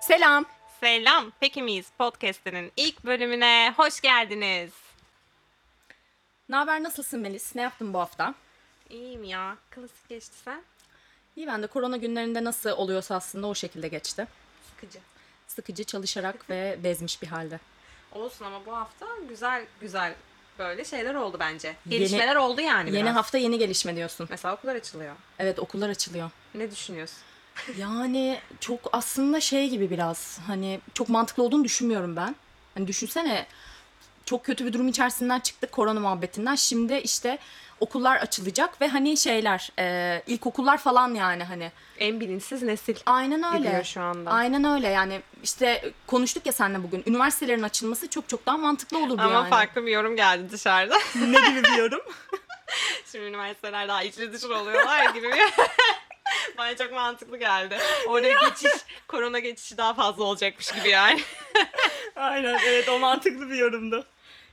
Selam. Selam, peki miyiz podcast'inin ilk bölümüne hoş geldiniz. Ne haber nasılsın Melis? Ne yaptın bu hafta? İyiyim ya, klasik geçti sen. İyi ben de korona günlerinde nasıl oluyorsa aslında o şekilde geçti. Sıkıcı. Sıkıcı çalışarak ve bezmiş bir halde. Olsun ama bu hafta güzel güzel böyle şeyler oldu bence. Gelişmeler oldu yani Yeni biraz. hafta yeni gelişme diyorsun. Mesela okullar açılıyor. Evet okullar açılıyor. Ne düşünüyorsun? Yani çok aslında şey gibi biraz hani çok mantıklı olduğunu düşünmüyorum ben. Hani düşünsene çok kötü bir durum içerisinden çıktık korona muhabbetinden. Şimdi işte okullar açılacak ve hani şeyler e, ilkokullar falan yani hani. En bilinçsiz nesil. Aynen öyle. Gidiyor şu anda. Aynen öyle yani işte konuştuk ya seninle bugün. Üniversitelerin açılması çok çok daha mantıklı olurdu Ama yani. farklı bir yorum geldi dışarıda. Ne gibi bir yorum? Şimdi üniversiteler daha içli dışlı oluyorlar gibi bir... Bana çok mantıklı geldi. Oraya geçiş, korona geçişi daha fazla olacakmış gibi yani. Aynen evet o mantıklı bir yorumdu.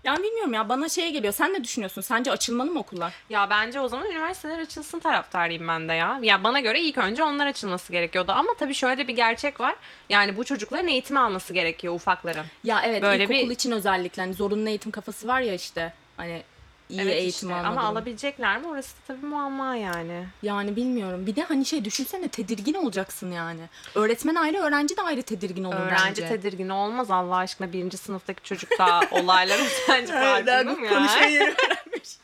Yani bilmiyorum ya bana şey geliyor. Sen ne düşünüyorsun? Sence açılmalı mı okullar? Ya bence o zaman üniversiteler açılsın taraftarıyım ben de ya. Ya bana göre ilk önce onlar açılması gerekiyordu. Ama tabii şöyle bir gerçek var. Yani bu çocukların eğitimi alması gerekiyor ufakların. Ya evet Böyle ilkokul bir- için özellikle hani zorunlu eğitim kafası var ya işte. Hani iyi Evet eğitim işte. almadım. Ama alabilecekler mi? Orası da tabii muamma yani. Yani bilmiyorum. Bir de hani şey düşünsene tedirgin olacaksın yani. Öğretmen ayrı, öğrenci de ayrı tedirgin olur Öğrenci bence. tedirgin olmaz Allah aşkına. Birinci sınıftaki çocuk da olayların sence farkında mı ya?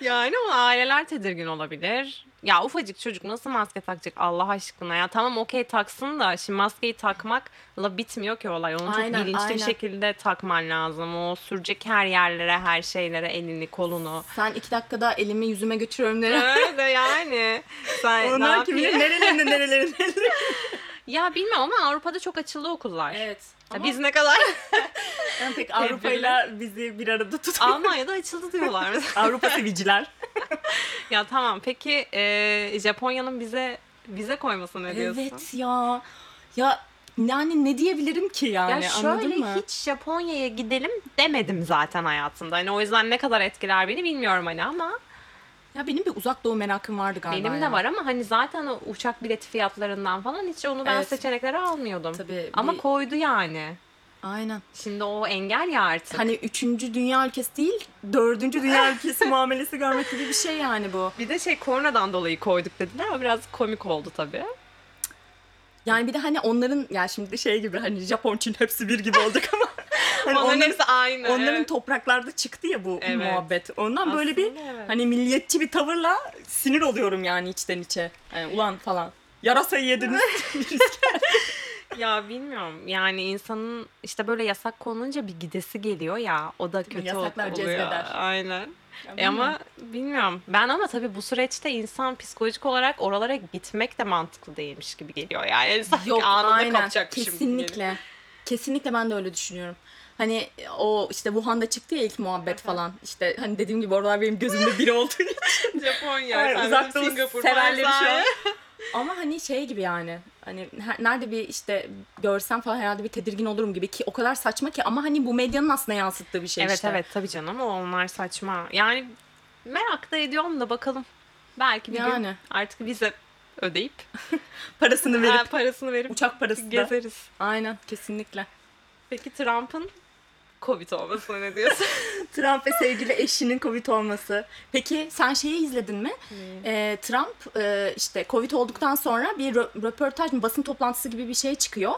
Yani ama aileler tedirgin olabilir. Ya ufacık çocuk nasıl maske takacak Allah aşkına ya. Tamam okey taksın da şimdi maskeyi takmakla bitmiyor ki olay. Onu çok Aynen, bilinçli bir aynen. şekilde takman lazım. O sürecek her yerlere, her şeylere elini, kolunu. Sen iki dakikada elimi yüzüme götürüyorum nereye? Öyle yani. Sen ne Onlar kim yapayım? bilir nerelerinde nerelerinde. Ya bilmem ama Avrupa'da çok açıldı okullar. evet. Ya Ama Biz ne kadar? ben pek Avrupa'yla bizi bir arada tutan Almanya'da açıldı diyorlar mesela. Avrupa seviciler. ya tamam peki e, Japonya'nın bize vize koymasını ne diyorsun? evet ya. Ya yani ne diyebilirim ki yani ya şöyle anladın mı? hiç Japonya'ya gidelim demedim zaten hayatımda. Hani o yüzden ne kadar etkiler beni bilmiyorum hani ama Ya benim bir uzak doğu merakım vardı galiba. benim ya. de var ama hani zaten o uçak bileti fiyatlarından falan hiç onu ben Evet. seçeneklere almıyordum. Tabii ama bir- koydu yani. Aynen. Şimdi o engel ya artık. Hani üçüncü dünya ülkesi değil, dördüncü dünya ülkesi muamelesi görmek gibi bir şey yani bu. Bir de şey koronadan dolayı koyduk dediler ama biraz komik oldu tabii. Yani bir de hani onların, yani şimdi şey gibi hani Japon, Çin hepsi bir gibi olduk ama. hani Onların onların, hepsi aynı. onların evet. topraklarda çıktı ya bu Evet. muhabbet. Ondan böyle bir Aslında evet. hani milliyetçi bir tavırla sinir oluyorum yani içten içe. Yani ulan falan. Yarasayı yediniz. Ya bilmiyorum yani insanın işte böyle yasak konulunca bir gidesi geliyor ya o da kötü ol- Yasaklar oluyor. cezbeder. Aynen. E ama bilmiyorum. Ben ama tabii bu süreçte insan psikolojik olarak oralara gitmek de mantıklı değilmiş gibi geliyor yani. Yani sanki Yok anında aynen kapacakmışım gibi geliyor. kesinlikle. Kesinlikle ben de öyle düşünüyorum. Hani o işte Wuhan'da çıktı ya ilk muhabbet falan. İşte hani dediğim gibi oralar benim gözümde biri olduğu için. Japonya, Aynen, sen uzak bizim doğu Singapur, severleri şey şu an. Malezya. Ama hani şey gibi yani. Hani her- nerede bir işte görsem falan herhalde bir tedirgin olurum gibi ki o kadar saçma ki ama hani bu medyanın aslında yansıttığı bir şey Evet işte. evet tabii canım o onlar saçma. Yani merak da ediyorum da bakalım. Belki bir gün Yani. artık vize ödeyip Parasını verip ha, parasını verip uçak parası da. gezeriz. Aynen kesinlikle. Peki Trump'ın Covid olmasına ne diyorsun? Trump ve sevgili eşinin Covid olması. Peki sen şeyi izledin mi? Ee, Trump e, işte Covid olduktan sonra bir rö- röportaj mı basın toplantısı gibi bir şey çıkıyor.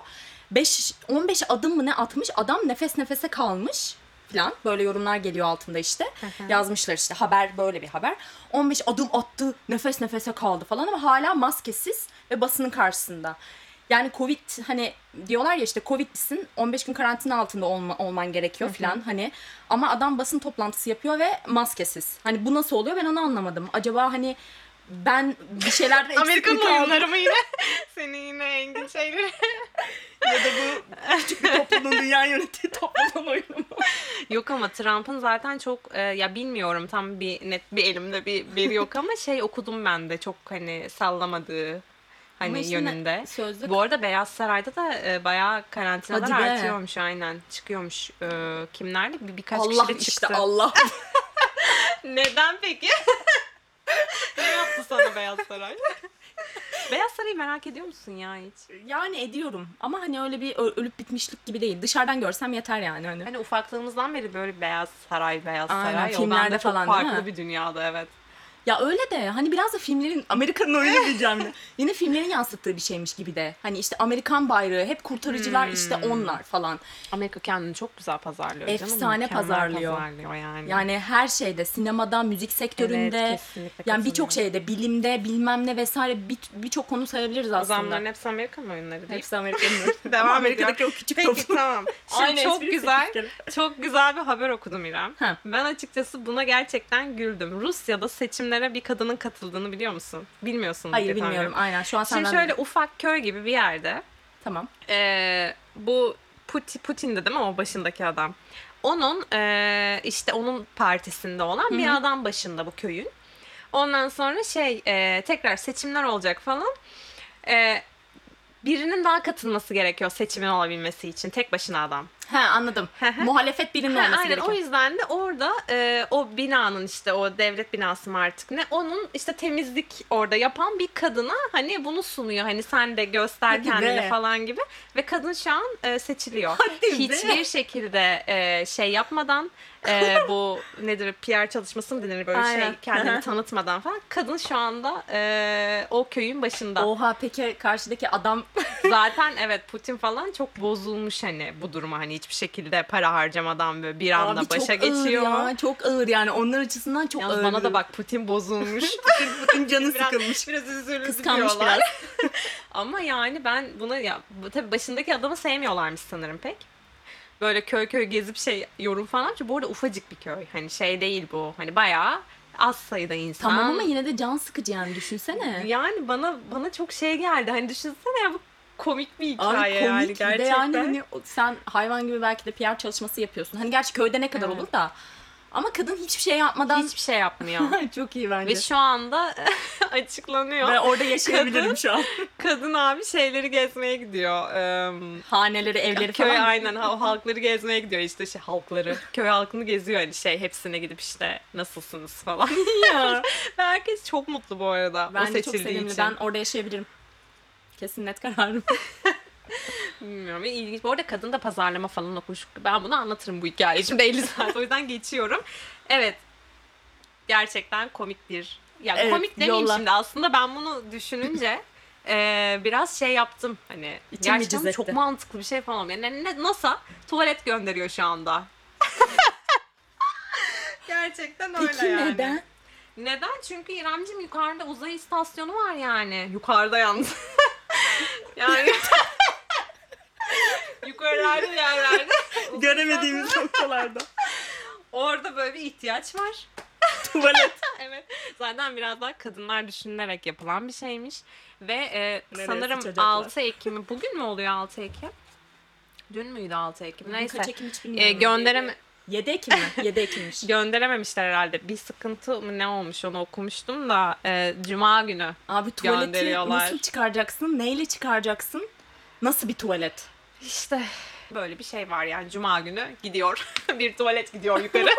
5 15 adım mı ne atmış? Adam nefes nefese kalmış falan. Böyle yorumlar geliyor altında işte. Yazmışlar işte haber böyle bir haber. 15 adım attı, nefes nefese kaldı falan ama hala maskesiz ve basının karşısında. Yani Covid hani diyorlar ya işte Covid'lisin 15 gün karantina altında olma- olman gerekiyor falan hani. Ama adam basın toplantısı yapıyor ve maskesiz. Hani bu nasıl oluyor ben onu anlamadım. Acaba hani ben bir şeylerde Amerikan eksiklik aldım oyunları mı yine? Seni yine engin şeyleri. ya da bu küçük bir toplumun dünya yönettiği toplumun oyunu mu? Yok ama Trump'ın zaten çok e, ya bilmiyorum tam bir net bir elimde bir bir yok ama şey okudum ben de çok hani sallamadığı Ama hani işte yönünde. Sözlü Bu arada Beyaz Saray'da da e, bayağı karantinalar Hadi be. artıyormuş aynen. Çıkıyormuş e, kimlerle bir, birkaç Allah kişi de çıktı. işte Allah. Neden peki? ne yaptı sana Beyaz Saray? Beyaz Saray'ı merak ediyor musun ya hiç? Yani ediyorum ama hani öyle bir ö- ölüp bitmişlik gibi değil. Dışarıdan görsem yeter yani hani. Hani ufaklığımızdan beri böyle Beyaz Saray, Beyaz Aynen, Saray. O filmlerde bende çok falan değil farklı mi? bir dünyada evet. Ya öyle de hani biraz da filmlerin Amerika'nın öyle diyeceğim de. Yine filmlerin yansıttığı bir şeymiş gibi de. Hani işte Amerikan bayrağı hep kurtarıcılar işte Hmm. onlar falan. Amerika kendini çok güzel pazarlıyor canım. Efsane mükemmel pazarlıyor. pazarlıyor yani. Yani her şeyde sinemada, müzik sektöründe Evet, kesinlikle yani birçok katılıyorum. şeyde, bilimde, bilmem ne vesaire bir- birçok konu sayabiliriz O zamanların aslında. şey hepsi Amerikan oyunları değil. Hepsi Amerika'nın. Devam Ama Amerika'daki o küçük Peki toplum. tamam. Şimdi Aynı çok espri güzel, sekiz kere. çok güzel bir haber okudum İrem. Ha. Ben açıkçası buna gerçekten güldüm. Rusya'da seçimlere bir kadının katıldığını biliyor musun? Bilmiyorsun. Hayır bilmiyorum aynen şu an Şimdi senden şöyle ufak köy gibi bir yerde Tamam. e, bu Putin, Putin'de değil mi o başındaki adam? Onun e, işte onun partisinde olan bir adam başında bu köyün. Ondan sonra şey e, tekrar seçimler olacak falan. E, birinin daha katılması gerekiyor seçimin olabilmesi için tek başına adam. He anladım. Muhalefet birinin Ha, olması aynen gerekiyor. o yüzden de orada e, o binanın işte o devlet binası mı artık ne onun işte temizlik orada yapan bir kadına hani bunu sunuyor hani sen de göster Hadi kendini be. falan gibi ve kadın şu an e, seçiliyor. Hadi be. Hiçbir şekilde e, şey yapmadan e, bu nedir PR çalışması mı denir böyle şey Aynen. kendini tanıtmadan falan kadın şu anda e, o köyün başında. Oha peki karşıdaki adam Zaten evet Putin falan çok bozulmuş hani bu duruma hani hiçbir şekilde para harcamadan böyle bir anda Abi çok başa ağır geçiyor. ya, çok ağır yani onlar açısından çok Yalnız ağır. bana da bak Putin bozulmuş. Putin canı Biraz- sıkılmış. biraz üzülüldü Kıskanmış diyorlar. biraz. Ama yani ben buna ya bu- tabii başındaki adamı sevmiyorlarmış sanırım pek. Böyle köy köy gezip şey yorum falan. Çünkü bu arada ufacık bir köy. Hani şey değil bu. Hani bayağı az sayıda insan. Tamam ama yine de can sıkıcı yani düşünsene. Yani bana bana çok şey geldi. Hani düşünsene ya bu komik bir Abi hikaye komik yani bir de gerçekten. yani hani o- sen hayvan gibi belki de PR çalışması yapıyorsun. Hani gerçi köyde ne kadar Evet. olur da. Ama kadın hiçbir şey yapmadan Hiçbir şey yapmıyor. çok iyi bence. Ve şu anda açıklanıyor. Ben orada yaşayabilirim Kadın- şu an. Kadın abi şeyleri gezmeye gidiyor. Eee, Haneleri, evleri köy falan. aynen ha- o halkları gezmeye gidiyor işte şey halkları. Köy halkını geziyor hani şey hepsine gidip işte nasılsınız falan. Ya. Herkes çok mutlu bu arada o ben de çok seçildiği sevimli. için. Ben orada yaşayabilirim. Kesin net kararım. Bilmiyorum ve ilginç. Bu arada kadın da pazarlama falan okumuş. Ben bunu anlatırım bu hikayeyi şimdi 50 saat. O yüzden geçiyorum. Evet. Gerçekten komik bir. Ya Evet, komik demeyeyim yolla. şimdi. Aslında ben bunu düşününce e, biraz şey yaptım. Hani İçim gerçekten viciz çok etti. mantıklı bir şey falan. Yani ne, NASA tuvalet gönderiyor şu anda. gerçekten öyle Peki yani. neden? Neden? Çünkü İremcim yukarıda uzay istasyonu var yani. Yukarıda yalnız. yani yukarılarda yerlerde. uzay istasyonu- noktalarda. Orada böyle bir ihtiyaç var. Tuvalet. evet. Zaten biraz daha kadınlar düşünülerek yapılan bir şeymiş. Ve e, Nereye sanırım sıçacaklar? 6 Ekim'i bugün mü oluyor 6 Ekim? Dün müydü 6 Ekim? Neyse. Kaç Ekim hiç E, bilmiyorum. göndereme 7 Ekim mi? 7 Ekim'miş. gönderememişler herhalde. Bir sıkıntı mı ne olmuş onu okumuştum da e, cuma günü Abi tuvaleti Gönderiyorlar. nasıl çıkaracaksın? Neyle çıkaracaksın? Nasıl bir tuvalet? İşte böyle bir şey var yani cuma günü gidiyor. bir tuvalet gidiyor yukarı.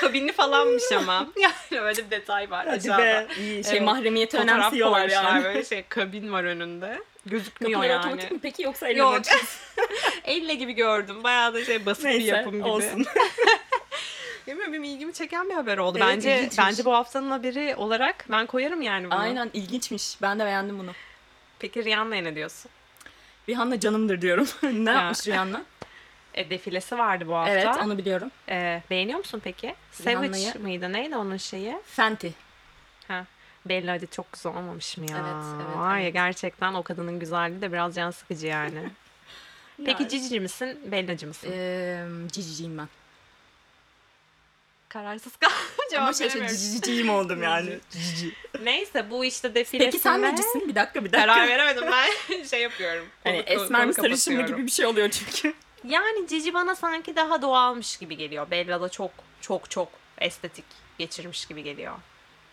Kabinli falanmış ama. Yani öyle bir detay var aşağıda. iyi. Şey Evet. mahremiyeti Fotoğraf önemsiyorlar koymuşlar, yani. Böyle şey kabin var önünde. Gözükmüyor Kapılar yani. otomatik mi peki yoksa elle Yok. mi açıyorsun? Elle gibi gördüm. Bayağı da şey basit bir Neyse yapım gibi. olsun. Bilmiyorum benim ilgimi çeken bir haber oldu. Evet, bence ilginçmiş. bence bu haftanın haberi olarak ben koyarım yani bunu. Aynen ilginçmiş. Ben de beğendim bunu. Peki Rihanna'ya ne diyorsun? Rihanna canımdır diyorum. ne Ya. yapmış Rihanna? E, defilesi vardı bu hafta. evet onu biliyorum. E, beğeniyor musun peki? Rihanna'yı- Savage mıydı? Neydi onun şeyi? Fenty. Ha. Belli hadi çok güzel olmamış mı ya? Evet, evet, Var ya evet. gerçekten o kadının güzelliği de biraz can sıkıcı yani. Peki Yani. Cici'ci misin, Bella'cı mısın? Ee, Eee ciciciyim ben. Kararsız kaldım cevap Ama şey, şey veremiyorum. ciciciyim oldum yani. Neyse bu işte defilesinde... Peki sen necisin? Bir dakika bir dakika. Karar veremedim ben şey yapıyorum. Hani konu- konu- esmer mi konu sarışın mı kapatıyorum. gibi bir şey oluyor çünkü. Yani Cici bana sanki daha doğalmış gibi geliyor. Bella da çok çok çok estetik geçirmiş gibi geliyor.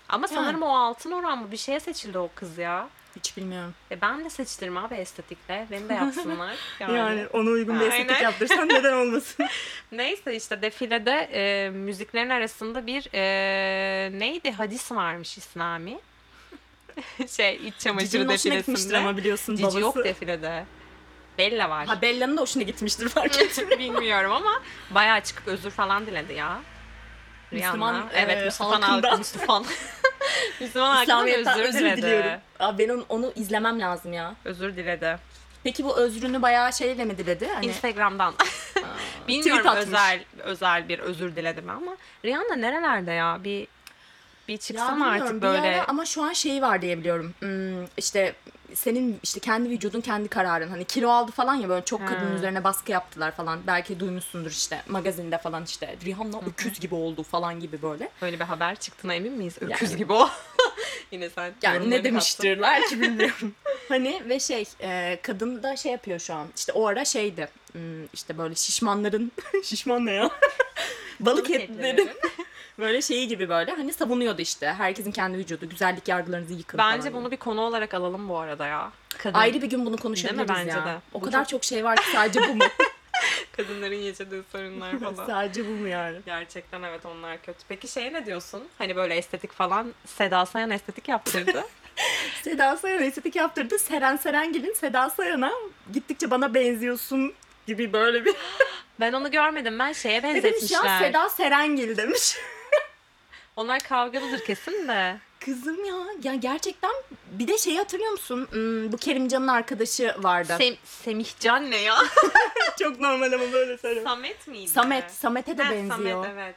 Ama Yani. sanırım o altın oran mı bir şeye seçildi o kız ya. Hiç bilmiyorum. E ben de seçilirim abi estetikle. Beni de yapsınlar. Yani, ona uygun bir estetik Aynen. yaptırsan neden olmasın? Neyse işte defilede e, müziklerin arasında bir e, neydi hadis varmış İslami. şey iç Cici'nin çamaşırı hoşuna gitmiştir defilesinde. ama biliyorsun Cici babası. yok defilede. Bella var. Ha Bella'nın da hoşuna gitmiştir fark et. Bilmiyorum ama bayağı çıkıp özür falan diledi ya. Müslüman, Rihanna. e, evet Müslüman halkından. halkından. Müslüman. Müslüman halkından İslamiyet'ten özür, özür diledi. diliyorum. Aa, ben onu, onu izlemem lazım ya. Özür diledi. Peki bu özrünü bayağı şeyle mi diledi? Hani, Instagram'dan. Bilmiyorum Tweet atmış. özel özel bir özür diledi mi ama Rihanna nerelerde ya? Bir bir çıksam bilmiyorum, artık bir ara böyle. ama şu an şeyi var diye biliyorum. Hmm, işte senin işte kendi vücudun kendi kararın. Hani kilo aldı falan ya böyle çok kadının Ha. üzerine baskı yaptılar falan. Belki duymuşsundur işte magazinde falan işte Rihanna öküz gibi oldu falan gibi böyle. Böyle bir haber çıktığına emin miyiz? Öküz Yani- gibi o. Yine sen Yani yorumlarını ne kattın. demiştirler ki bilmiyorum. hani ve şey e, kadın da şey yapıyor şu an. İşte o ara şeydi. hmm, işte böyle şişmanların şişman ne ya? Balık etlerin böyle şeyi gibi böyle hani savunuyordu işte. Herkesin kendi vücudu, güzellik yargılarınızı yıkın falan Bence gibi. bunu bir konu olarak alalım bu arada ya. Kadın, Ayrı bir gün bunu konuşabiliriz Değil mi? Bence ya. de. O Bu kadar çok... çok- şey var ki sadece bu mu? kadınların yaşadığı sorunlar falan. sadece bu mu yani? Gerçekten evet onlar kötü. Peki şeye ne diyorsun? Hani böyle estetik falan Seda Sayan estetik yaptırdı. Seda Sayan estetik yaptırdı. Seren Serengil'in Seda Sayan'a gittikçe bana benziyorsun gibi böyle bir... ben onu görmedim. Ben şeye Ne demiş ya? benzetmişler. Seda Serengil demiş. Onlar kavgalıdır kesin de. Kızım ya. Ya gerçekten bir de şeyi hatırlıyor musun? Hmm, bu Kerimcan'ın arkadaşı vardı. Sem Semihcan ne ya? Çok normal ama böyle söylüyorum. Samet miydi? Samet. Samet'e de Ha, benziyor. Samet evet.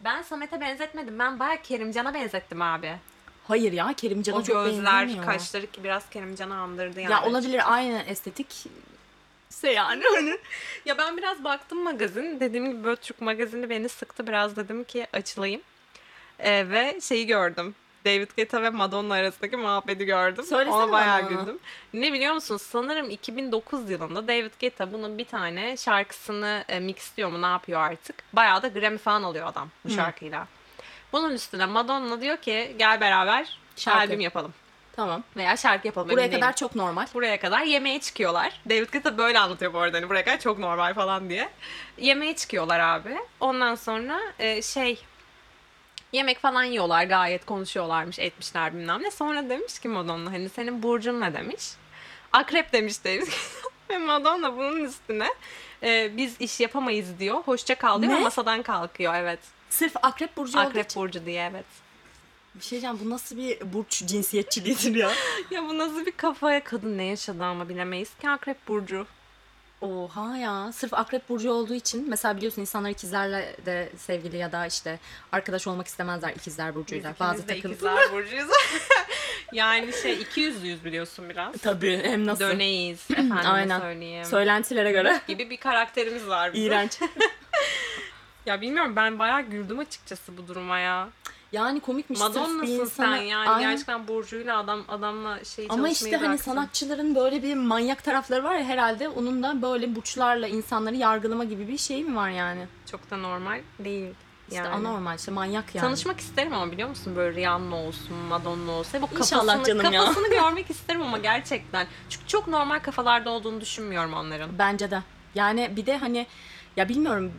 Ben Samet'e benzetmedim. Ben bayağı Kerimcan'a benzettim abi. Hayır ya Kerimcan'a o çok benzemiyor. gözler, kaşları ki biraz Kerimcan'ı andırdı yani. Ya olabilir aynı estetik. Se yani hani. Ya ben biraz baktım magazin. Dediğim gibi böyle Türk magazini beni sıktı. Biraz dedim ki açılayım. Ee, ve şeyi gördüm. David Guetta ve Madonna arasındaki muhabbeti gördüm. Söylesene Ona bayağı bana. güldüm. Ne biliyor musun? Sanırım 2009 yılında David Guetta bunun bir tane şarkısını e, mixliyor mu ne yapıyor artık. Bayağı da Grammy falan alıyor adam bu şarkıyla. Bunun üstüne Madonna diyor ki gel beraber Şarkı. albüm yapalım. Tamam. Veya şarkı yapalım. Buraya emin değilim kadar çok normal. buraya kadar yemeğe çıkıyorlar. David Guetta böyle anlatıyor bu arada hani buraya kadar çok normal falan diye. Yemeğe çıkıyorlar abi. Ondan sonra e, şey yemek falan yiyorlar gayet konuşuyorlarmış etmişler bilmem ne. Sonra demiş ki Madonna hani senin burcun ne demiş. Akrep demiş David Guetta. Ve Madonna bunun üstüne e, biz iş yapamayız diyor. Hoşça kal diyor Ne? ve masadan kalkıyor evet. Sırf akrep burcu olduğu Akrep için. burcu diye evet. Bir şey diyeceğim bu nasıl bir burç cinsiyetçiliğidir ya? Ya bu nasıl bir kafaya kadın ne yaşadı ama bilemeyiz ki akrep burcu. Oha ya. Sırf akrep burcu olduğu için mesela biliyorsun insanlar ikizlerle de sevgili ya da işte arkadaş olmak istemezler ikizler burcuyla. Biz Bazı ikimiz de takıntılar. ikizler burcuyuz. yani şey 200 yüz biliyorsun biraz. Tabii hem nasıl. Döneyiz efendime Aynen. söyleyeyim. Söylentilere göre gibi bir karakterimiz var bizim. iğrenç. Ya bilmiyorum ben bayağı güldüm açıkçası bu duruma ya. Yani komikmiş. sırf bir Madonna'sın sen insana- yani Aynen. gerçekten burcuyla adam adamla şey Ama çalışmayı işte hani bıraksın. sanatçıların böyle bir manyak tarafları var ya herhalde onun da böyle burçlarla insanları yargılama gibi bir şey mi var yani? çok da normal değil. İşte yani. anormal işte manyak yani. Tanışmak isterim ama biliyor musun böyle Rihanna olsun, Madonna olsun. Bu İnşallah kafasını, canım ya. kafasını görmek isterim ama gerçekten. Çünkü çok normal kafalarda olduğunu düşünmüyorum onların. Bence de. Yani bir de hani ya bilmiyorum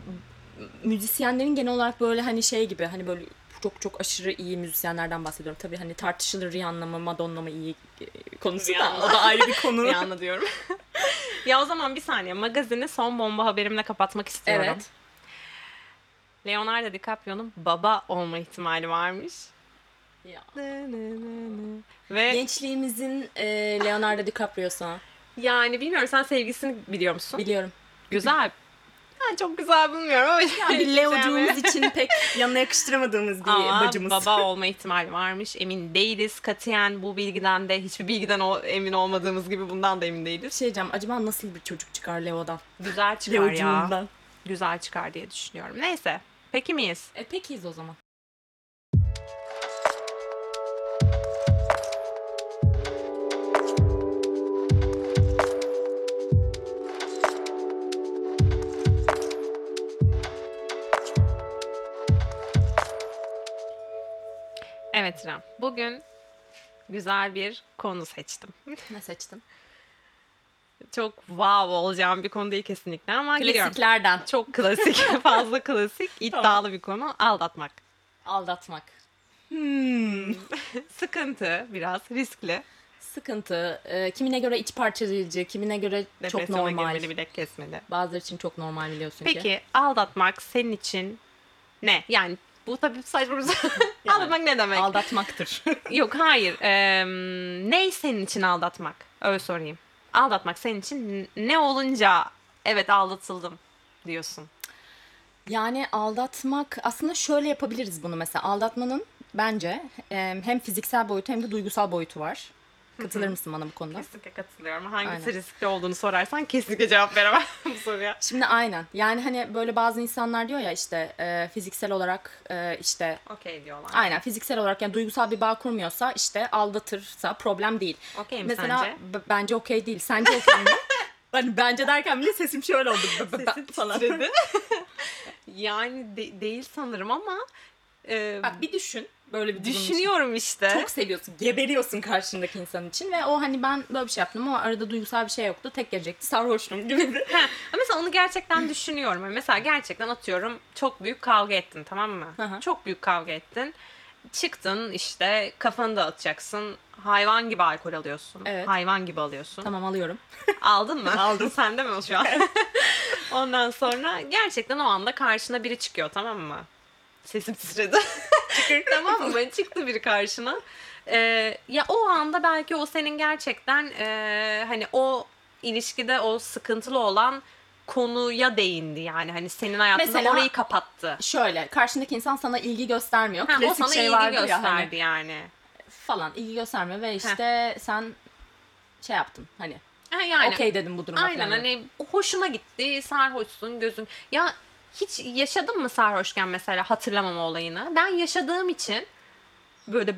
müzisyenlerin genel olarak böyle hani şey gibi hani böyle çok çok aşırı iyi müzisyenlerden bahsediyorum. Tabii hani tartışılır Rihanna mı Madonna mı iyi e, konusu da Rihanna. o da ayrı bir konu. Rihanna diyorum. ya o zaman bir saniye. Magazini son bomba haberimle kapatmak istiyorum. Evet. Leonardo DiCaprio'nun baba olma ihtimali varmış. Ya. Ve Gençliğimizin e, Leonardo DiCaprio'su. yani bilmiyorum sen sevgisini biliyor musun? Biliyorum. güzel. Ben çok güzel bulmuyorum ama. Ya bir Leo'cuğumuz için pek yanına yakıştıramadığımız bir Ama bacımız. baba olma ihtimali varmış. Emin değiliz katiyen bu bilgiden de hiçbir bilgiden o- emin olmadığımız gibi bundan da emin değiliz. Şey diyeceğim acaba nasıl bir çocuk çıkar Leo'dan? Güzel çıkar ya. Leo'cuğundan. Güzel çıkar diye düşünüyorum. Neyse. Peki miyiz? E pekiyiz o zaman. Evet İrem. Bugün güzel bir konu seçtim. Ne seçtim? Çok wow olacağım bir konu değil kesinlikle ama giriyorum. Klasiklerden. Çok klasik, fazla klasik, iddialı bir konu aldatmak. Aldatmak. Hmm. Sıkıntı biraz riskli. Sıkıntı. Ee, kimine göre iç parçalayıcı, kimine göre çok Depresyona normal. girmeli bilek kesmeli. Bazıları için çok normal biliyorsun ki. Peki aldatmak senin için ne? Yani bu tabii saçma bir soru. Yani, aldatmak ne demek? Aldatmaktır. Yok hayır. Em, ne senin için aldatmak? Öyle sorayım. Aldatmak senin için ne olunca evet aldatıldım diyorsun. Yani aldatmak aslında şöyle yapabiliriz bunu mesela aldatmanın bence e, hem fiziksel boyutu hem de duygusal boyutu var. Katılır mısın bana bu konuda? Kesinlikle katılıyorum. Hangisi Aynen. riskli olduğunu sorarsan kesinlikle cevap veremem bu soruya. Şimdi aynen yani hani böyle bazı insanlar diyor ya işte e, fiziksel olarak e, işte Okey diyorlar. aynen fiziksel olarak yani duygusal bir bağ kurmuyorsa işte aldatırsa problem değil. Okey mi Mesela sence? b- bence okey değil. Sence okey mi? Hani bence derken bile sesim şöyle oldu. B- b- Sesin falan. titredi. yani de- değil sanırım ama e, Bak bir düşün. Böyle bir durum için. düşünüyorum işte. Çok seviyorsun. Geberiyorsun karşındaki insan için ve o hani ben böyle bir şey yaptım ama arada duygusal bir şey yoktu. Tek gelecekti. Sarhoştum gibi bir. Ha, ama mesela onu gerçekten düşünüyorum. Yani Mesela gerçekten atıyorum çok büyük kavga ettin tamam mı? Hı hı. Çok büyük kavga ettin. Çıktın işte kafanı dağıtacaksın. Hayvan gibi alkol alıyorsun. Evet. Hayvan gibi alıyorsun. tamam alıyorum. Aldın mı? Aldın. Sende mi o şu an? Ondan sonra gerçekten o anda karşına biri çıkıyor tamam mı? Sesim titredi. tamam mı? Çıktı biri karşına. Ee, ya o anda belki o senin gerçekten ee, hani o ilişkide o sıkıntılı olan konuya değindi yani hani senin hayatında Mesela- orayı kapattı. Şöyle karşındaki insan sana ilgi göstermiyor. Ha, o Klasik sana şey ilgi vardır gösterdi ya hani yani. falan ilgi göstermiyor ve işte sen şey yaptın hani Ha, yani. okey dedim bu duruma Aynen falan. hani hoşuna gitti, sarhoşsun, gözün. Ya hiç yaşadın mı sarhoşken mesela hatırlamama olayını? Ben yaşadığım için böyle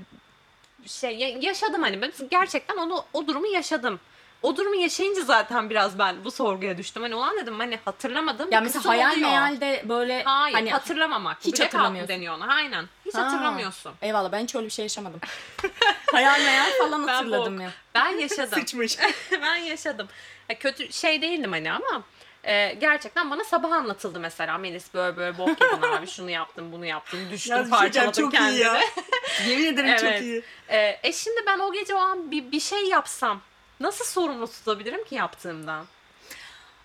şey ya- yaşadım hani ben gerçekten onu o durumu yaşadım. O durumu yaşayınca zaten biraz ben bu sorguya düştüm. Hani ulan dedim hani hatırlamadım. Ya mesela hayal meyalde böyle Hayır hani hatırlamamak. hiç Hiç hatırlamıyorsun. hatırlamıyorsun. deniyor ona aynen. Hiç Ha. hatırlamıyorsun. eyvallah ben hiç öyle bir şey yaşamadım. hayal meyal falan Ben hatırladım bok. ya. Ben yaşadım. Sıçmış. ben yaşadım. Ya kötü şey değildim hani ama e, gerçekten bana sabah anlatıldı mesela Melis böyle böyle bok yedin abi şunu yaptın bunu yaptın düştün şey parçaladın kendini. Yemin ederim Evet. E, e şimdi ben o gece o an bir, bir şey yapsam nasıl sorumlu tutabilirim ki yaptığımdan?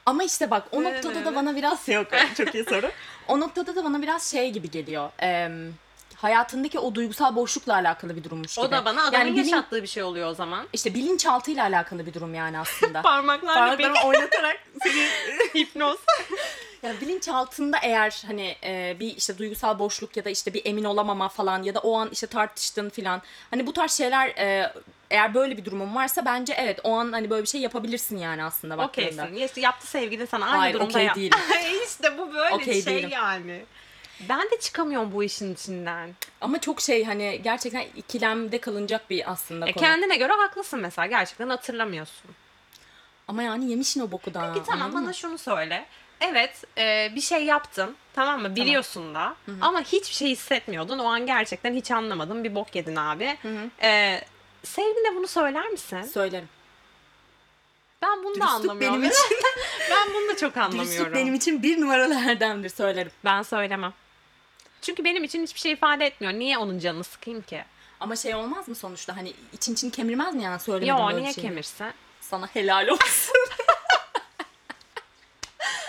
Ama işte bak o Ne, noktada ne, da ne? bana biraz yok çok iyi soru. O noktada da bana biraz şey gibi geliyor. em, hayatındaki o duygusal boşlukla alakalı bir durummuş gibi. O da bana adamın yani bilin- yaşattığı bir şey oluyor o zaman. İşte bilinçaltıyla alakalı bir durum yani aslında. Parmaklarla bir Parmaklarımı oynatarak seni hipnoz. Ya bilinçaltında eğer hani e, bir işte duygusal boşluk ya da işte bir emin olamama falan ya da o an işte tartıştın falan. Hani bu tarz şeyler e, eğer böyle bir durumun varsa bence evet o an hani böyle bir şey yapabilirsin yani aslında baktığında. Okeysin. Yes, yaptı sevgilin sana aynı Hayır, durumda okey yap- değilim. işte bu böyle Okey şey değilim. yani. Ben de çıkamıyorum bu işin içinden. Ama çok şey hani gerçekten ikilemde kalınacak bir aslında E, konu. kendine göre haklısın mesela. Gerçekten hatırlamıyorsun. Ama yani yemişin o boku da. Peki tamam anladın bana mı? şunu söyle. Evet e, bir şey yaptın tamam mı biliyorsun da ama hiçbir şey hissetmiyordun. O an gerçekten hiç anlamadın bir bok yedin abi. E, sevgiline bunu söyler misin? Söylerim. Ben bunu da Dürüstlük anlamıyorum. benim için, Ben bunu da çok dürüstlük anlamıyorum. benim için bir numaralı erdemdir söylerim. Ben söylemem. Çünkü benim için hiçbir şey ifade etmiyor. Niye onun canını sıkayım ki? Ama şey olmaz mı sonuçta hani için için kemirmez mi yani söylemedim Yo böyle bir şey niye şeyi? kemirsin? Sana helal olsun.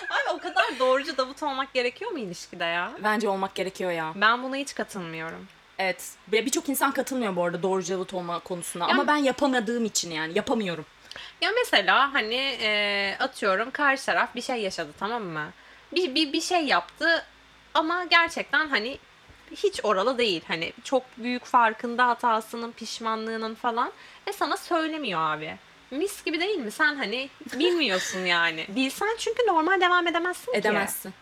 Abi o kadar doğrucu davut olmak gerekiyor mu ilişkide ya? Bence olmak gerekiyor ya. Ben buna hiç katılmıyorum. Evet. Ya Birçok insan katılmıyor bu arada doğru cevap olma konusuna. Yani- Ama ben yapamadığım için yani yapamıyorum. Ya mesela hani e, atıyorum karşı taraf bir şey yaşadı tamam mı? Bir, bir, bir şey yaptı ama gerçekten hani hiç oralı değil. Hani çok büyük farkında hatasının, pişmanlığının falan. Ve sana söylemiyor abi. Mis gibi değil mi? Sen hani bilmiyorsun yani. Bilsen çünkü normal devam edemezsin ki. Edemezsin.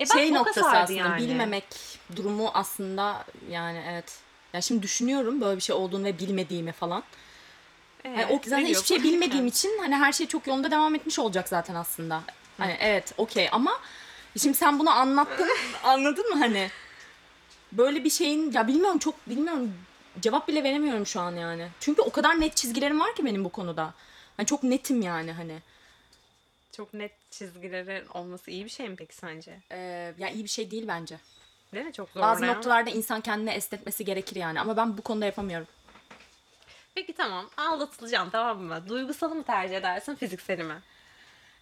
E bak, şey boka noktası sardı aslında yani. bilmemek durumu aslında yani evet. Ya şimdi düşünüyorum böyle bir şey olduğunu ve bilmediğimi falan. Evet, Yani o zaten hiçbir biliyorsun. şey bilmediğim için hani her şey çok yolunda devam etmiş olacak zaten aslında. Hani evet okey ama şimdi sen bunu anlattın anladın mı hani? Böyle bir şeyin ya bilmiyorum çok bilmiyorum cevap bile veremiyorum şu an yani. Çünkü o kadar net çizgilerim var ki benim bu konuda. Hani çok netim yani hani. Çok net çizgilerin olması iyi bir şey mi peki sence? E, Ee, ya iyi bir şey değil bence. Değil mi? Çok zor Bazı ne ya? noktalarda insan kendini esnetmesi gerekir yani ama ben bu konuda yapamıyorum. Peki tamam. Aldatılacaksın tamam mı? Duygusalı mı tercih edersin fizikseli mi?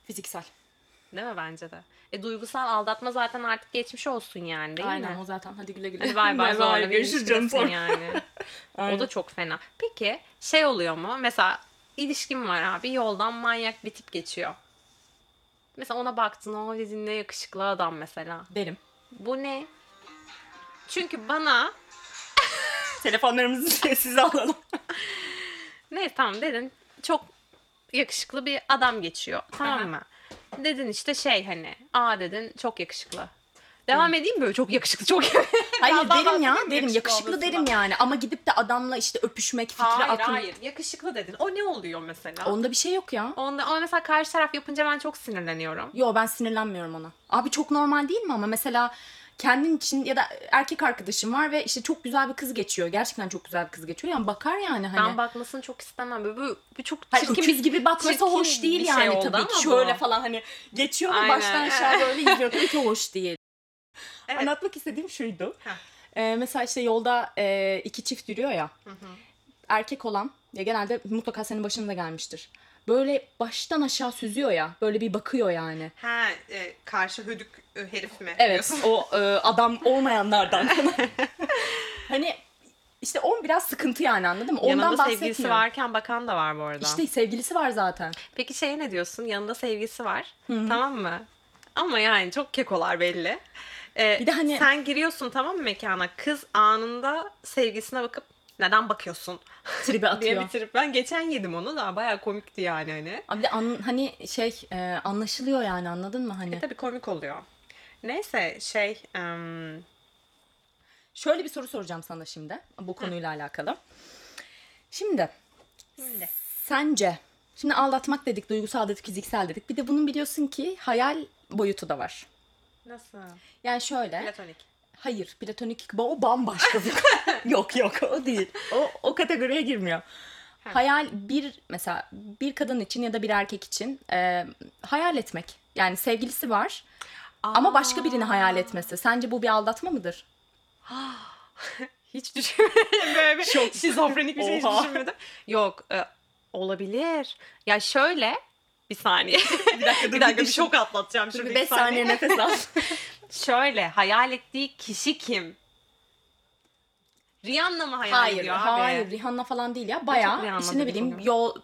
Fiziksel. Değil mi bence de? E duygusal aldatma zaten artık geçmiş olsun yani değil Aynen mi? o zaten. Hadi güle güle. Hadi bay bay zorla bir Görüşürüz canım ilişkidesin sonra. yani. Aynen. O da çok fena. Peki şey oluyor mu? Mesela ilişkim var abi yoldan manyak bir tip geçiyor. Mesela ona baktın o dedin ne yakışıklı adam mesela. Derim. Bu ne? Çünkü bana Telefonlarımızı sessize alalım. ne tamam dedin çok yakışıklı bir adam geçiyor tamam mı? Dedin işte şey hani aa dedin çok yakışıklı. Devam edeyim mi böyle çok yakışıklı çok Hayır Biraz daha derim ya bahsedeyim mi derim. Yakışıklı olmasından? derim yani ama gidip de adamla işte öpüşmek fikri Hayır aklım. hayır yakışıklı dedin. O ne oluyor mesela? Onda bir şey yok ya. Onda ama mesela karşı taraf yapınca ben çok sinirleniyorum. Yo ben sinirlenmiyorum ona. Abi çok normal değil mi ama mesela kendin için ya da erkek arkadaşım var ve işte çok güzel bir kız geçiyor. Gerçekten çok güzel bir kız geçiyor. Yani bakar yani hani. Ben bakmasını çok istemem. Böyle Bu, bu çok Hayır, çirkin öküz gibi bakması çirkin hoş değil bir şey yani oldu tabii ki. ama bu. Şöyle falan hani geçiyor ve Aynen. baştan aşağı böyle izliyor. Tabii ki hoş değil. Evet. Anlatmak istediğim şuydu. Heh. Ee, mesela işte yolda e, iki çift yürüyor ya. hı. Erkek olan ya genelde mutlaka senin başına da gelmiştir. Böyle baştan aşağı süzüyor ya. Böyle bir bakıyor yani. Ha, e, karşı hüdük e, herif mi? Evet o e, adam olmayanlardan. hani işte on biraz sıkıntı yani anladın mı? Ondan Yanında sevgilisi bahsetmiyorum. varken bakan da var bu arada. İşte sevgilisi var zaten. Peki şeye ne diyorsun? Yanında sevgilisi var. Tamam mı? Ama yani çok kekolar belli. Ee, Bir de hani- Sen giriyorsun tamam mı mekana? Kız anında sevgilisine bakıp neden bakıyorsun? Tribe diye atıyor. bitirip ben geçen yedim onu da bayağı komikti yani hani. Abi de an- hani şey e, anlaşılıyor yani anladın mı hani? E, Tabii komik oluyor. Neyse şey em, Şöyle bir soru soracağım sana şimdi bu konuyla alakalı. Şimdi sence şimdi aldatmak dedik, duygusal dedik, fiziksel dedik. Bir de bunun biliyorsun ki hayal boyutu da var. nasıl? Yani şöyle, Platonik. hayır platonik o bambaşka bir Yok yok o değil. O, o kategoriye girmiyor. Hayal bir mesela bir kadın için ya da bir erkek için e, hayal etmek. Yani sevgilisi var ama başka birini hayal etmesi. Sence bu bir aldatma mıdır? Hiç düşünmedim böyle bir Şok. şizofrenik bir şey hiç Oha. düşünmedim. Yok e, olabilir. Ya şöyle bir saniye. Bir dakika bir dakika bir şok atlatacağım Dur şimdi. bir iki 5 saniye nefes al. Şöyle hayal ettiği kişi kim? Rihanna mı hayal hayır, ediyor abi? hayır. Rihanna falan değil ya. Bayağı Rihanna işte ne dedik bileyim bugün. yol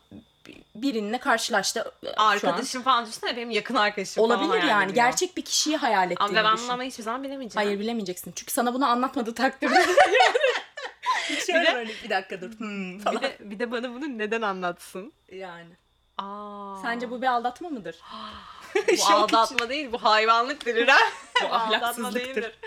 birinle karşılaştı e, şu an. Arkadaşım falan düşünsene benim yakın arkadaşım falan Olabilir hayal yani. ediyor. Gerçek bir kişiyi hayal ettiğini Ama ben düşün. bunu ama hiçbir zaman bilemeyeceğim. Hayır bilemeyeceksin. Çünkü sana bunu anlatmadığı takdirde. Şöyle Bir de- böyle, bir dakika dur. Hmm, falan. Bir de, bir de bana bunu neden anlatsın? Yani. Aa. Sence bu bir aldatma mıdır? Bu aldatma değil, bu hayvanlıktır. ha. Bu ahlaksızlıktır.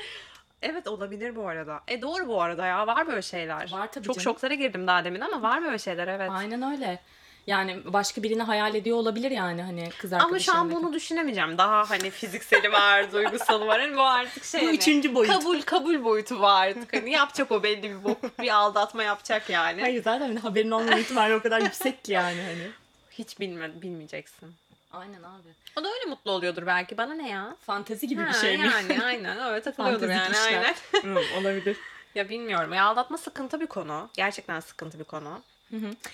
Evet olabilir bu arada. E doğru bu arada ya var böyle şeyler. Var tabii Çok canım. şoklara girdim daha demin ama var böyle şeyler evet. Aynen öyle. Yani başka birini hayal ediyor olabilir yani hani kız arkadaşım. Ama şu an bunu düşünemeyeceğim. Daha hani fizikseli var, duygusalı var. Hani bu artık şey Bu hani, üçüncü boyut. Kabul kabul boyutu var artık. Hani yapacak o belli bir bok. Bir aldatma yapacak yani. Hayır zaten hani haberin olma ihtimali o kadar yüksek ki yani hani. Hiç bilme, bilmeyeceksin. Aynen abi. O da öyle mutlu oluyordur belki. Bana ne ya? Fantezi gibi bir Ha, şey mi? Yani aynen öyle takılıyordur Fantezik yani işler. aynen. Hı, olabilir. Ya bilmiyorum. Ya aldatma sıkıntı bir konu. Gerçekten sıkıntı bir konu.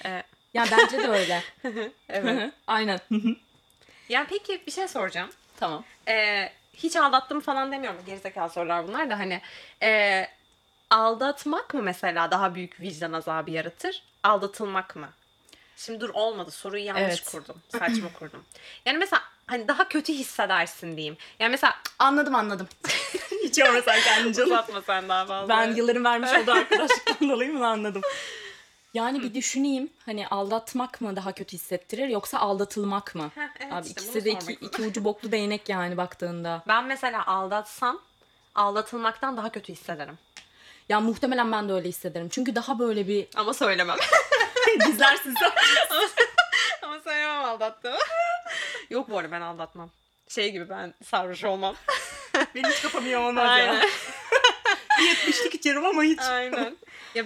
Ee, Ya bence de öyle. evet. Aynen. yani peki bir şey soracağım. tamam. Ee, hiç aldattım falan demiyorum. Gerizekalı sorular bunlar da hani. ee, aldatmak mı mesela daha büyük vicdan azabı yaratır? Aldatılmak mı? Şimdi dur olmadı. Soruyu yanlış Evet. kurdum. Saçma kurdum. Yani mesela hani daha kötü hissedersin diyeyim. Yani mesela Anladım anladım. Hiç yormasan kendini canım. uzatma sen daha fazla. Ben yılların vermiş olduğu arkadaşlıktan dolayı bunu anladım. Yani bir düşüneyim hani aldatmak mı daha kötü hissettirir yoksa aldatılmak mı? Heh, evet Abi işte, ikisi bunu de iki, sormak- iki ucu boklu değnek yani baktığında. Ben mesela aldatsam aldatılmaktan daha kötü hissederim. Ya muhtemelen ben de öyle hissederim. Çünkü daha böyle bir Ama söylemem. gizlersin sen. Ama söylemem aldattım. Yok bu arada ben aldatmam. Şey gibi ben sarhoş olmam. Benim hiç kafam iyi olmaz Aynen. Yetmişlik içerim ama hiç. Aynen. Ya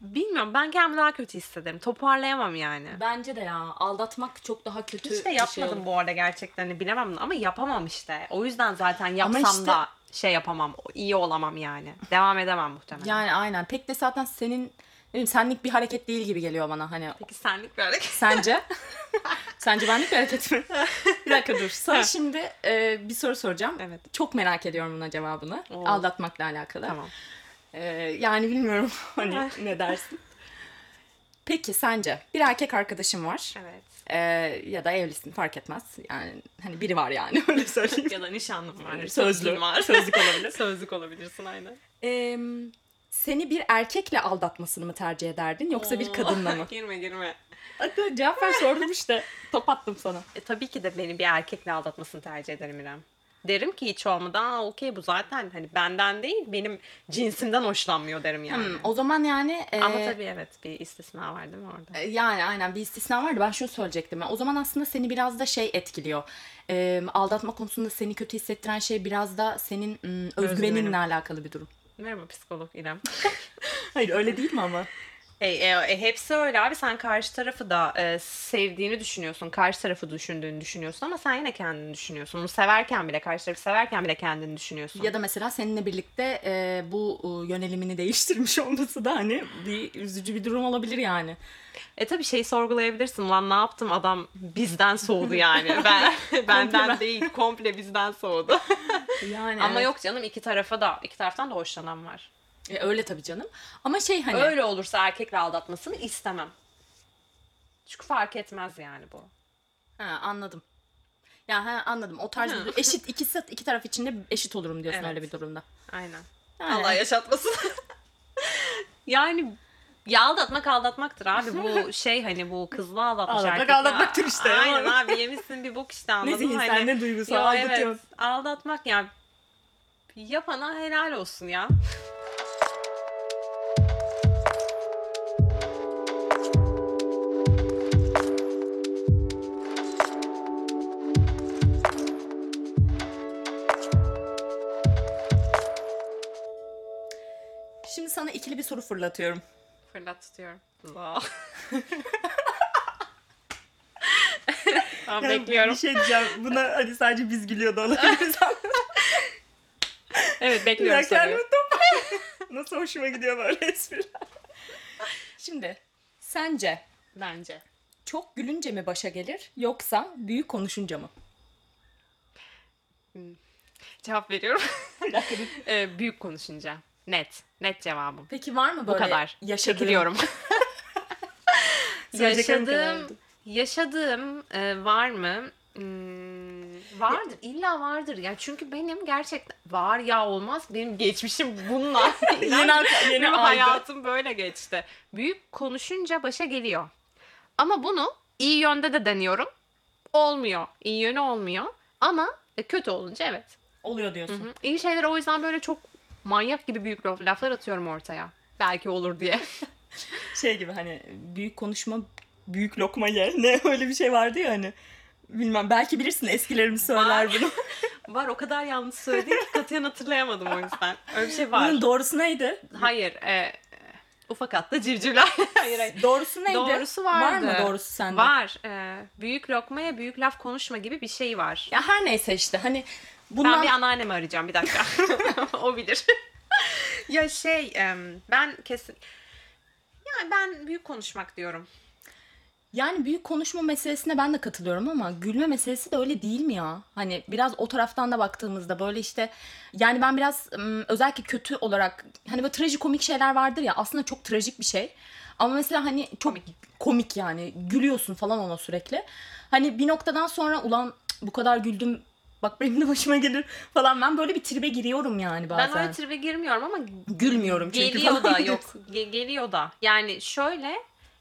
bilmiyorum ben kendimi daha kötü hissederim. Toparlayamam yani. Bence de ya aldatmak çok daha kötü Hiç de bir şey yapmadım bu arada gerçekten. Hani Bilemem ama yapamam işte. O yüzden zaten Ama yapsam işte da şey yapamam, iyi olamam yani. Devam edemem muhtemelen. Yani aynen. Pek de zaten senin ne bileyim, senlik bir hareket değil gibi geliyor bana hani. Peki senlik bir hareket. Sence? Sence benlik bir hareket mi? bir dakika dur. Sana şimdi e, bir soru soracağım. Evet. Çok merak ediyorum buna cevabını. Oo. Aldatmakla alakalı. Tamam. E, yani bilmiyorum hani ne dersin. Peki sence bir erkek arkadaşım var Evet. e, ya da evlisin fark etmez. Yani hani biri var yani öyle söyleyeyim. ya da nişanlım var. Sözlü. sözlüm var. Sözlük olabilir. Sözlük olabilirsin aynen. E, seni bir erkekle aldatmasını mı tercih ederdin yoksa bir kadınla mı? girme girme. Hatta cevap ver sordum işte. Top attım sana. E, tabii ki de beni bir erkekle aldatmasını tercih ederim İrem. Derim ki hiç olmadı. Aa okey bu zaten hani benden değil benim cinsimden hoşlanmıyor derim yani. Hmm, o zaman yani... e, Ama tabii evet bir istisna var değil mi orada? E, Yani aynen bir istisna vardı. Ben şunu söyleyecektim. O zaman aslında seni biraz da şey etkiliyor. E, aldatma konusunda seni kötü hissettiren şey biraz da senin mm, Özgüvenim. özgüveninle alakalı bir durum. Merhaba psikolog İrem. Hayır öyle değil mi ama? E, e, e, hepsi öyle abi sen karşı tarafı da e, sevdiğini düşünüyorsun. Karşı tarafı düşündüğünü düşünüyorsun ama sen yine kendini düşünüyorsun. Onu severken bile karşı tarafı severken bile kendini düşünüyorsun. Ya da mesela seninle birlikte e, bu e, yönelimini değiştirmiş olması da hani bir üzücü bir durum olabilir yani. E tabii şey sorgulayabilirsin. Lan ne yaptım adam bizden soğudu yani. Ben benden değil komple bizden soğudu. Yani Ama evet. yok canım iki tarafa da iki taraftan da hoşlanan var. E, öyle tabii canım. Ama şey hani Öyle olursa erkekle aldatmasını istemem. Çünkü fark etmez yani bu. Ha, anladım. Ya ha, anladım. O tarz bir eşit ikisi iki taraf içinde eşit olurum diyorsun Evet. öyle bir durumda. Aynen. Yani. Allah yaşatmasın. yani ya aldatmak aldatmaktır abi bu şey hani bu kızla aldatmış Aldatmak erkekle- aldatmaktır işte. Aynen abi yemişsin bir bok işte anladın Ne mı? zihinsel Hani- ne duygusal Yo, evet, aldatıyorsun. aldatmak yani yapana helal olsun ya. Şimdi sana ikili bir soru fırlatıyorum. Fırlat tutuyorum. Tamam Yani bekliyorum. Bir şey diyeceğim. Buna hani sadece biz gülüyordu olabiliriz. Evet Bir bekliyorum dakika, soruyu. kendimi topla- Nasıl hoşuma gidiyor böyle espriler. Şimdi sence Bence. çok gülünce mi başa gelir yoksa büyük konuşunca mı? Cevap veriyorum. Ee, büyük konuşunca. Net. Net cevabım. Peki var mı böyle kadar. yaşadığın? Biliyorum. Söyleyeceklerim kadar yaşadığım oldu. yaşadığım e, var mı? Hmm, vardır. illa vardır. Ya çünkü benim gerçekten var ya olmaz. Benim geçmişim bununla. Yeni, alka- yeni Benim algı. hayatım böyle geçti. Büyük konuşunca başa geliyor. Ama bunu iyi yönde de deniyorum. Olmuyor. İyi yönü olmuyor. Ama e, kötü olunca evet. Oluyor diyorsun. Hı. İyi şeyler o yüzden böyle çok manyak gibi büyük laf- laflar atıyorum ortaya. Belki olur diye. Şey gibi hani büyük konuşma büyük lokma ye. Ne öyle bir şey vardı ya hani. Bilmem belki bilirsin eskilerimiz söyler bunu. Var o kadar yanlış söyledim ki katiyen hatırlayamadım o yüzden. Öyle bir şey var. Bunun doğrusu neydi? Hayır. e, e, ufak atlı civcivler. hayır hayır. Doğrusu neydi? Doğrusu Var vardı. mı doğrusu sende? Var. e, büyük lokmaya büyük laf konuşma gibi bir şey var. Ya her neyse işte hani bundan Ben bir anneannemi arayacağım bir dakika. o bilir. ya şey em, ben kesin yani ben büyük konuşmak diyorum. yani büyük konuşma meselesine ben de katılıyorum ama gülme meselesi de öyle değil mi ya? Hani biraz o taraftan da baktığımızda böyle işte yani ben biraz ım, özellikle kötü olarak hani böyle trajikomik şeyler vardır ya aslında çok trajik bir şey. Ama mesela hani çok komik, yani gülüyorsun falan ona sürekli. Hani bir noktadan sonra ulan bu kadar güldüm bak benim de başıma gelir falan ben böyle bir tribe giriyorum yani bazen. Ben öyle tribe girmiyorum ama Gülmüyorum çünkü. geliyor falan. da yok. Ge- geliyor da. Yani şöyle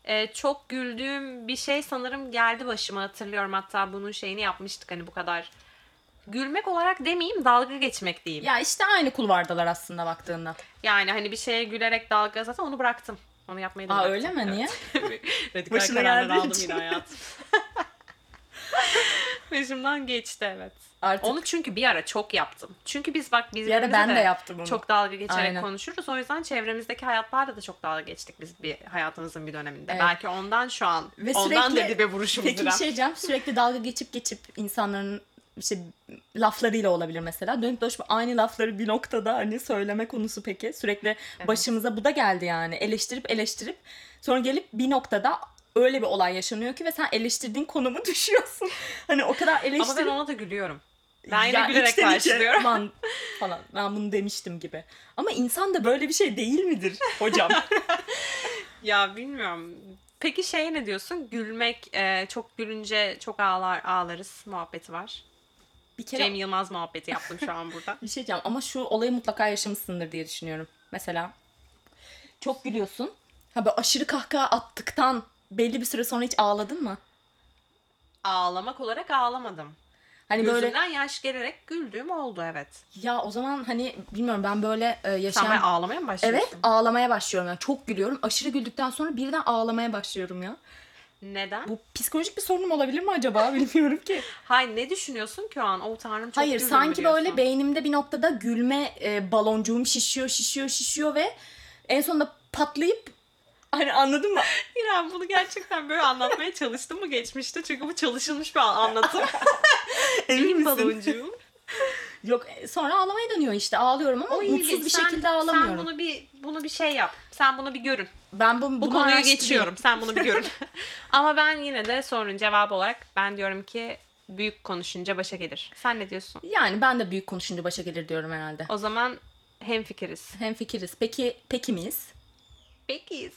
e, çok güldüğüm bir şey sanırım geldi başıma hatırlıyorum. Hatta bunun şeyini yapmıştık hani bu kadar. Gülmek olarak demeyeyim dalga geçmek diyeyim. Ya işte aynı kulvardalar aslında baktığında. Yani hani bir şeye gülerek dalga zaten onu bıraktım. Onu yapmayı da Aa bıraktım. öyle mi? Niye? Radikal Başına kararlar geldiği aldım için. yine hayatım. Başımdan geçti evet. Artık Onu çünkü bir ara çok yaptım. Çünkü biz bak biz bir ara ben de yaptım onu. çok dalga geçerek Aynen. konuşuruz. O yüzden çevremizdeki hayatlarla da çok dalga geçtik biz bir hayatımızın bir döneminde. Evet. Belki ondan şu an Ve ondan da sürekli- dibe vuruşumuz Peki şey bir biraz. şey diyeceğim. Sürekli dalga geçip geçip insanların işte laflarıyla olabilir mesela. Dönüp dolaşıp aynı lafları bir noktada hani söyleme konusu peki. Sürekli başımıza bu da geldi yani. Eleştirip eleştirip sonra gelip bir noktada öyle bir olay yaşanıyor ki ve sen eleştirdiğin konumu düşüyorsun. Hani o kadar Ama ben eleştirip ona da gülüyorum. Ben yine ya gülerek içten içe, karşılıyorum. "Aman" falan ben bunu demiştim gibi. Ama insan da böyle bir şey değil midir hocam? Ya bilmiyorum. Peki şey ne diyorsun? Gülmek, e, çok gülünce çok ağlar ağlarız muhabbeti var. bir kere Cem Yılmaz muhabbeti yaptım şu an burada. Bir şey diyeceğim ama şu olayı mutlaka yaşamışsındır diye düşünüyorum. Mesela çok gülüyorsun. Ha böyle aşırı kahkaha attıktan belli bir süre sonra hiç ağladın mı? Ağlamak olarak ağlamadım. Hani böyle Gözümden yaş gelerek güldüğüm oldu evet. ya o zaman hani bilmiyorum ben böyle e, Sen yaşayan ben ağlamaya mı başlıyorsun? Evet ağlamaya başlıyorum yani çok gülüyorum. Aşırı güldükten sonra birden ağlamaya başlıyorum ya. Neden? Bu psikolojik bir sorunum olabilir mi acaba bilmiyorum ki. Hayır ne düşünüyorsun ki o an? O tanrım çok Hayır güldüm sanki diyorsun. böyle beynimde bir noktada gülme e, baloncuğum şişiyor şişiyor şişiyor ve en sonunda patlayıp hani anladın mı? İrem bunu gerçekten böyle anlatmaya çalıştım mı geçmişte? Çünkü bu çalışılmış bir anlatım. Benim baloncuğum. Yok e, sonra ağlamaya dönüyor işte ağlıyorum ama Oy, mutsuz bir sen- şekilde ağlamıyorum. Sen bunu bir bunu bir şey yap. Sen bunu bir görün. Ben bu, Bu konuyu geçiyorum. Sen bunu bir görün. Ama ben yine de sorunun cevabı olarak ben diyorum ki büyük konuşunca başa gelir. Sen ne diyorsun? Yani ben de büyük konuşunca başa gelir diyorum herhalde. O zaman hemfikiriz. Hem fikiriz. Peki peki miyiz? Peki.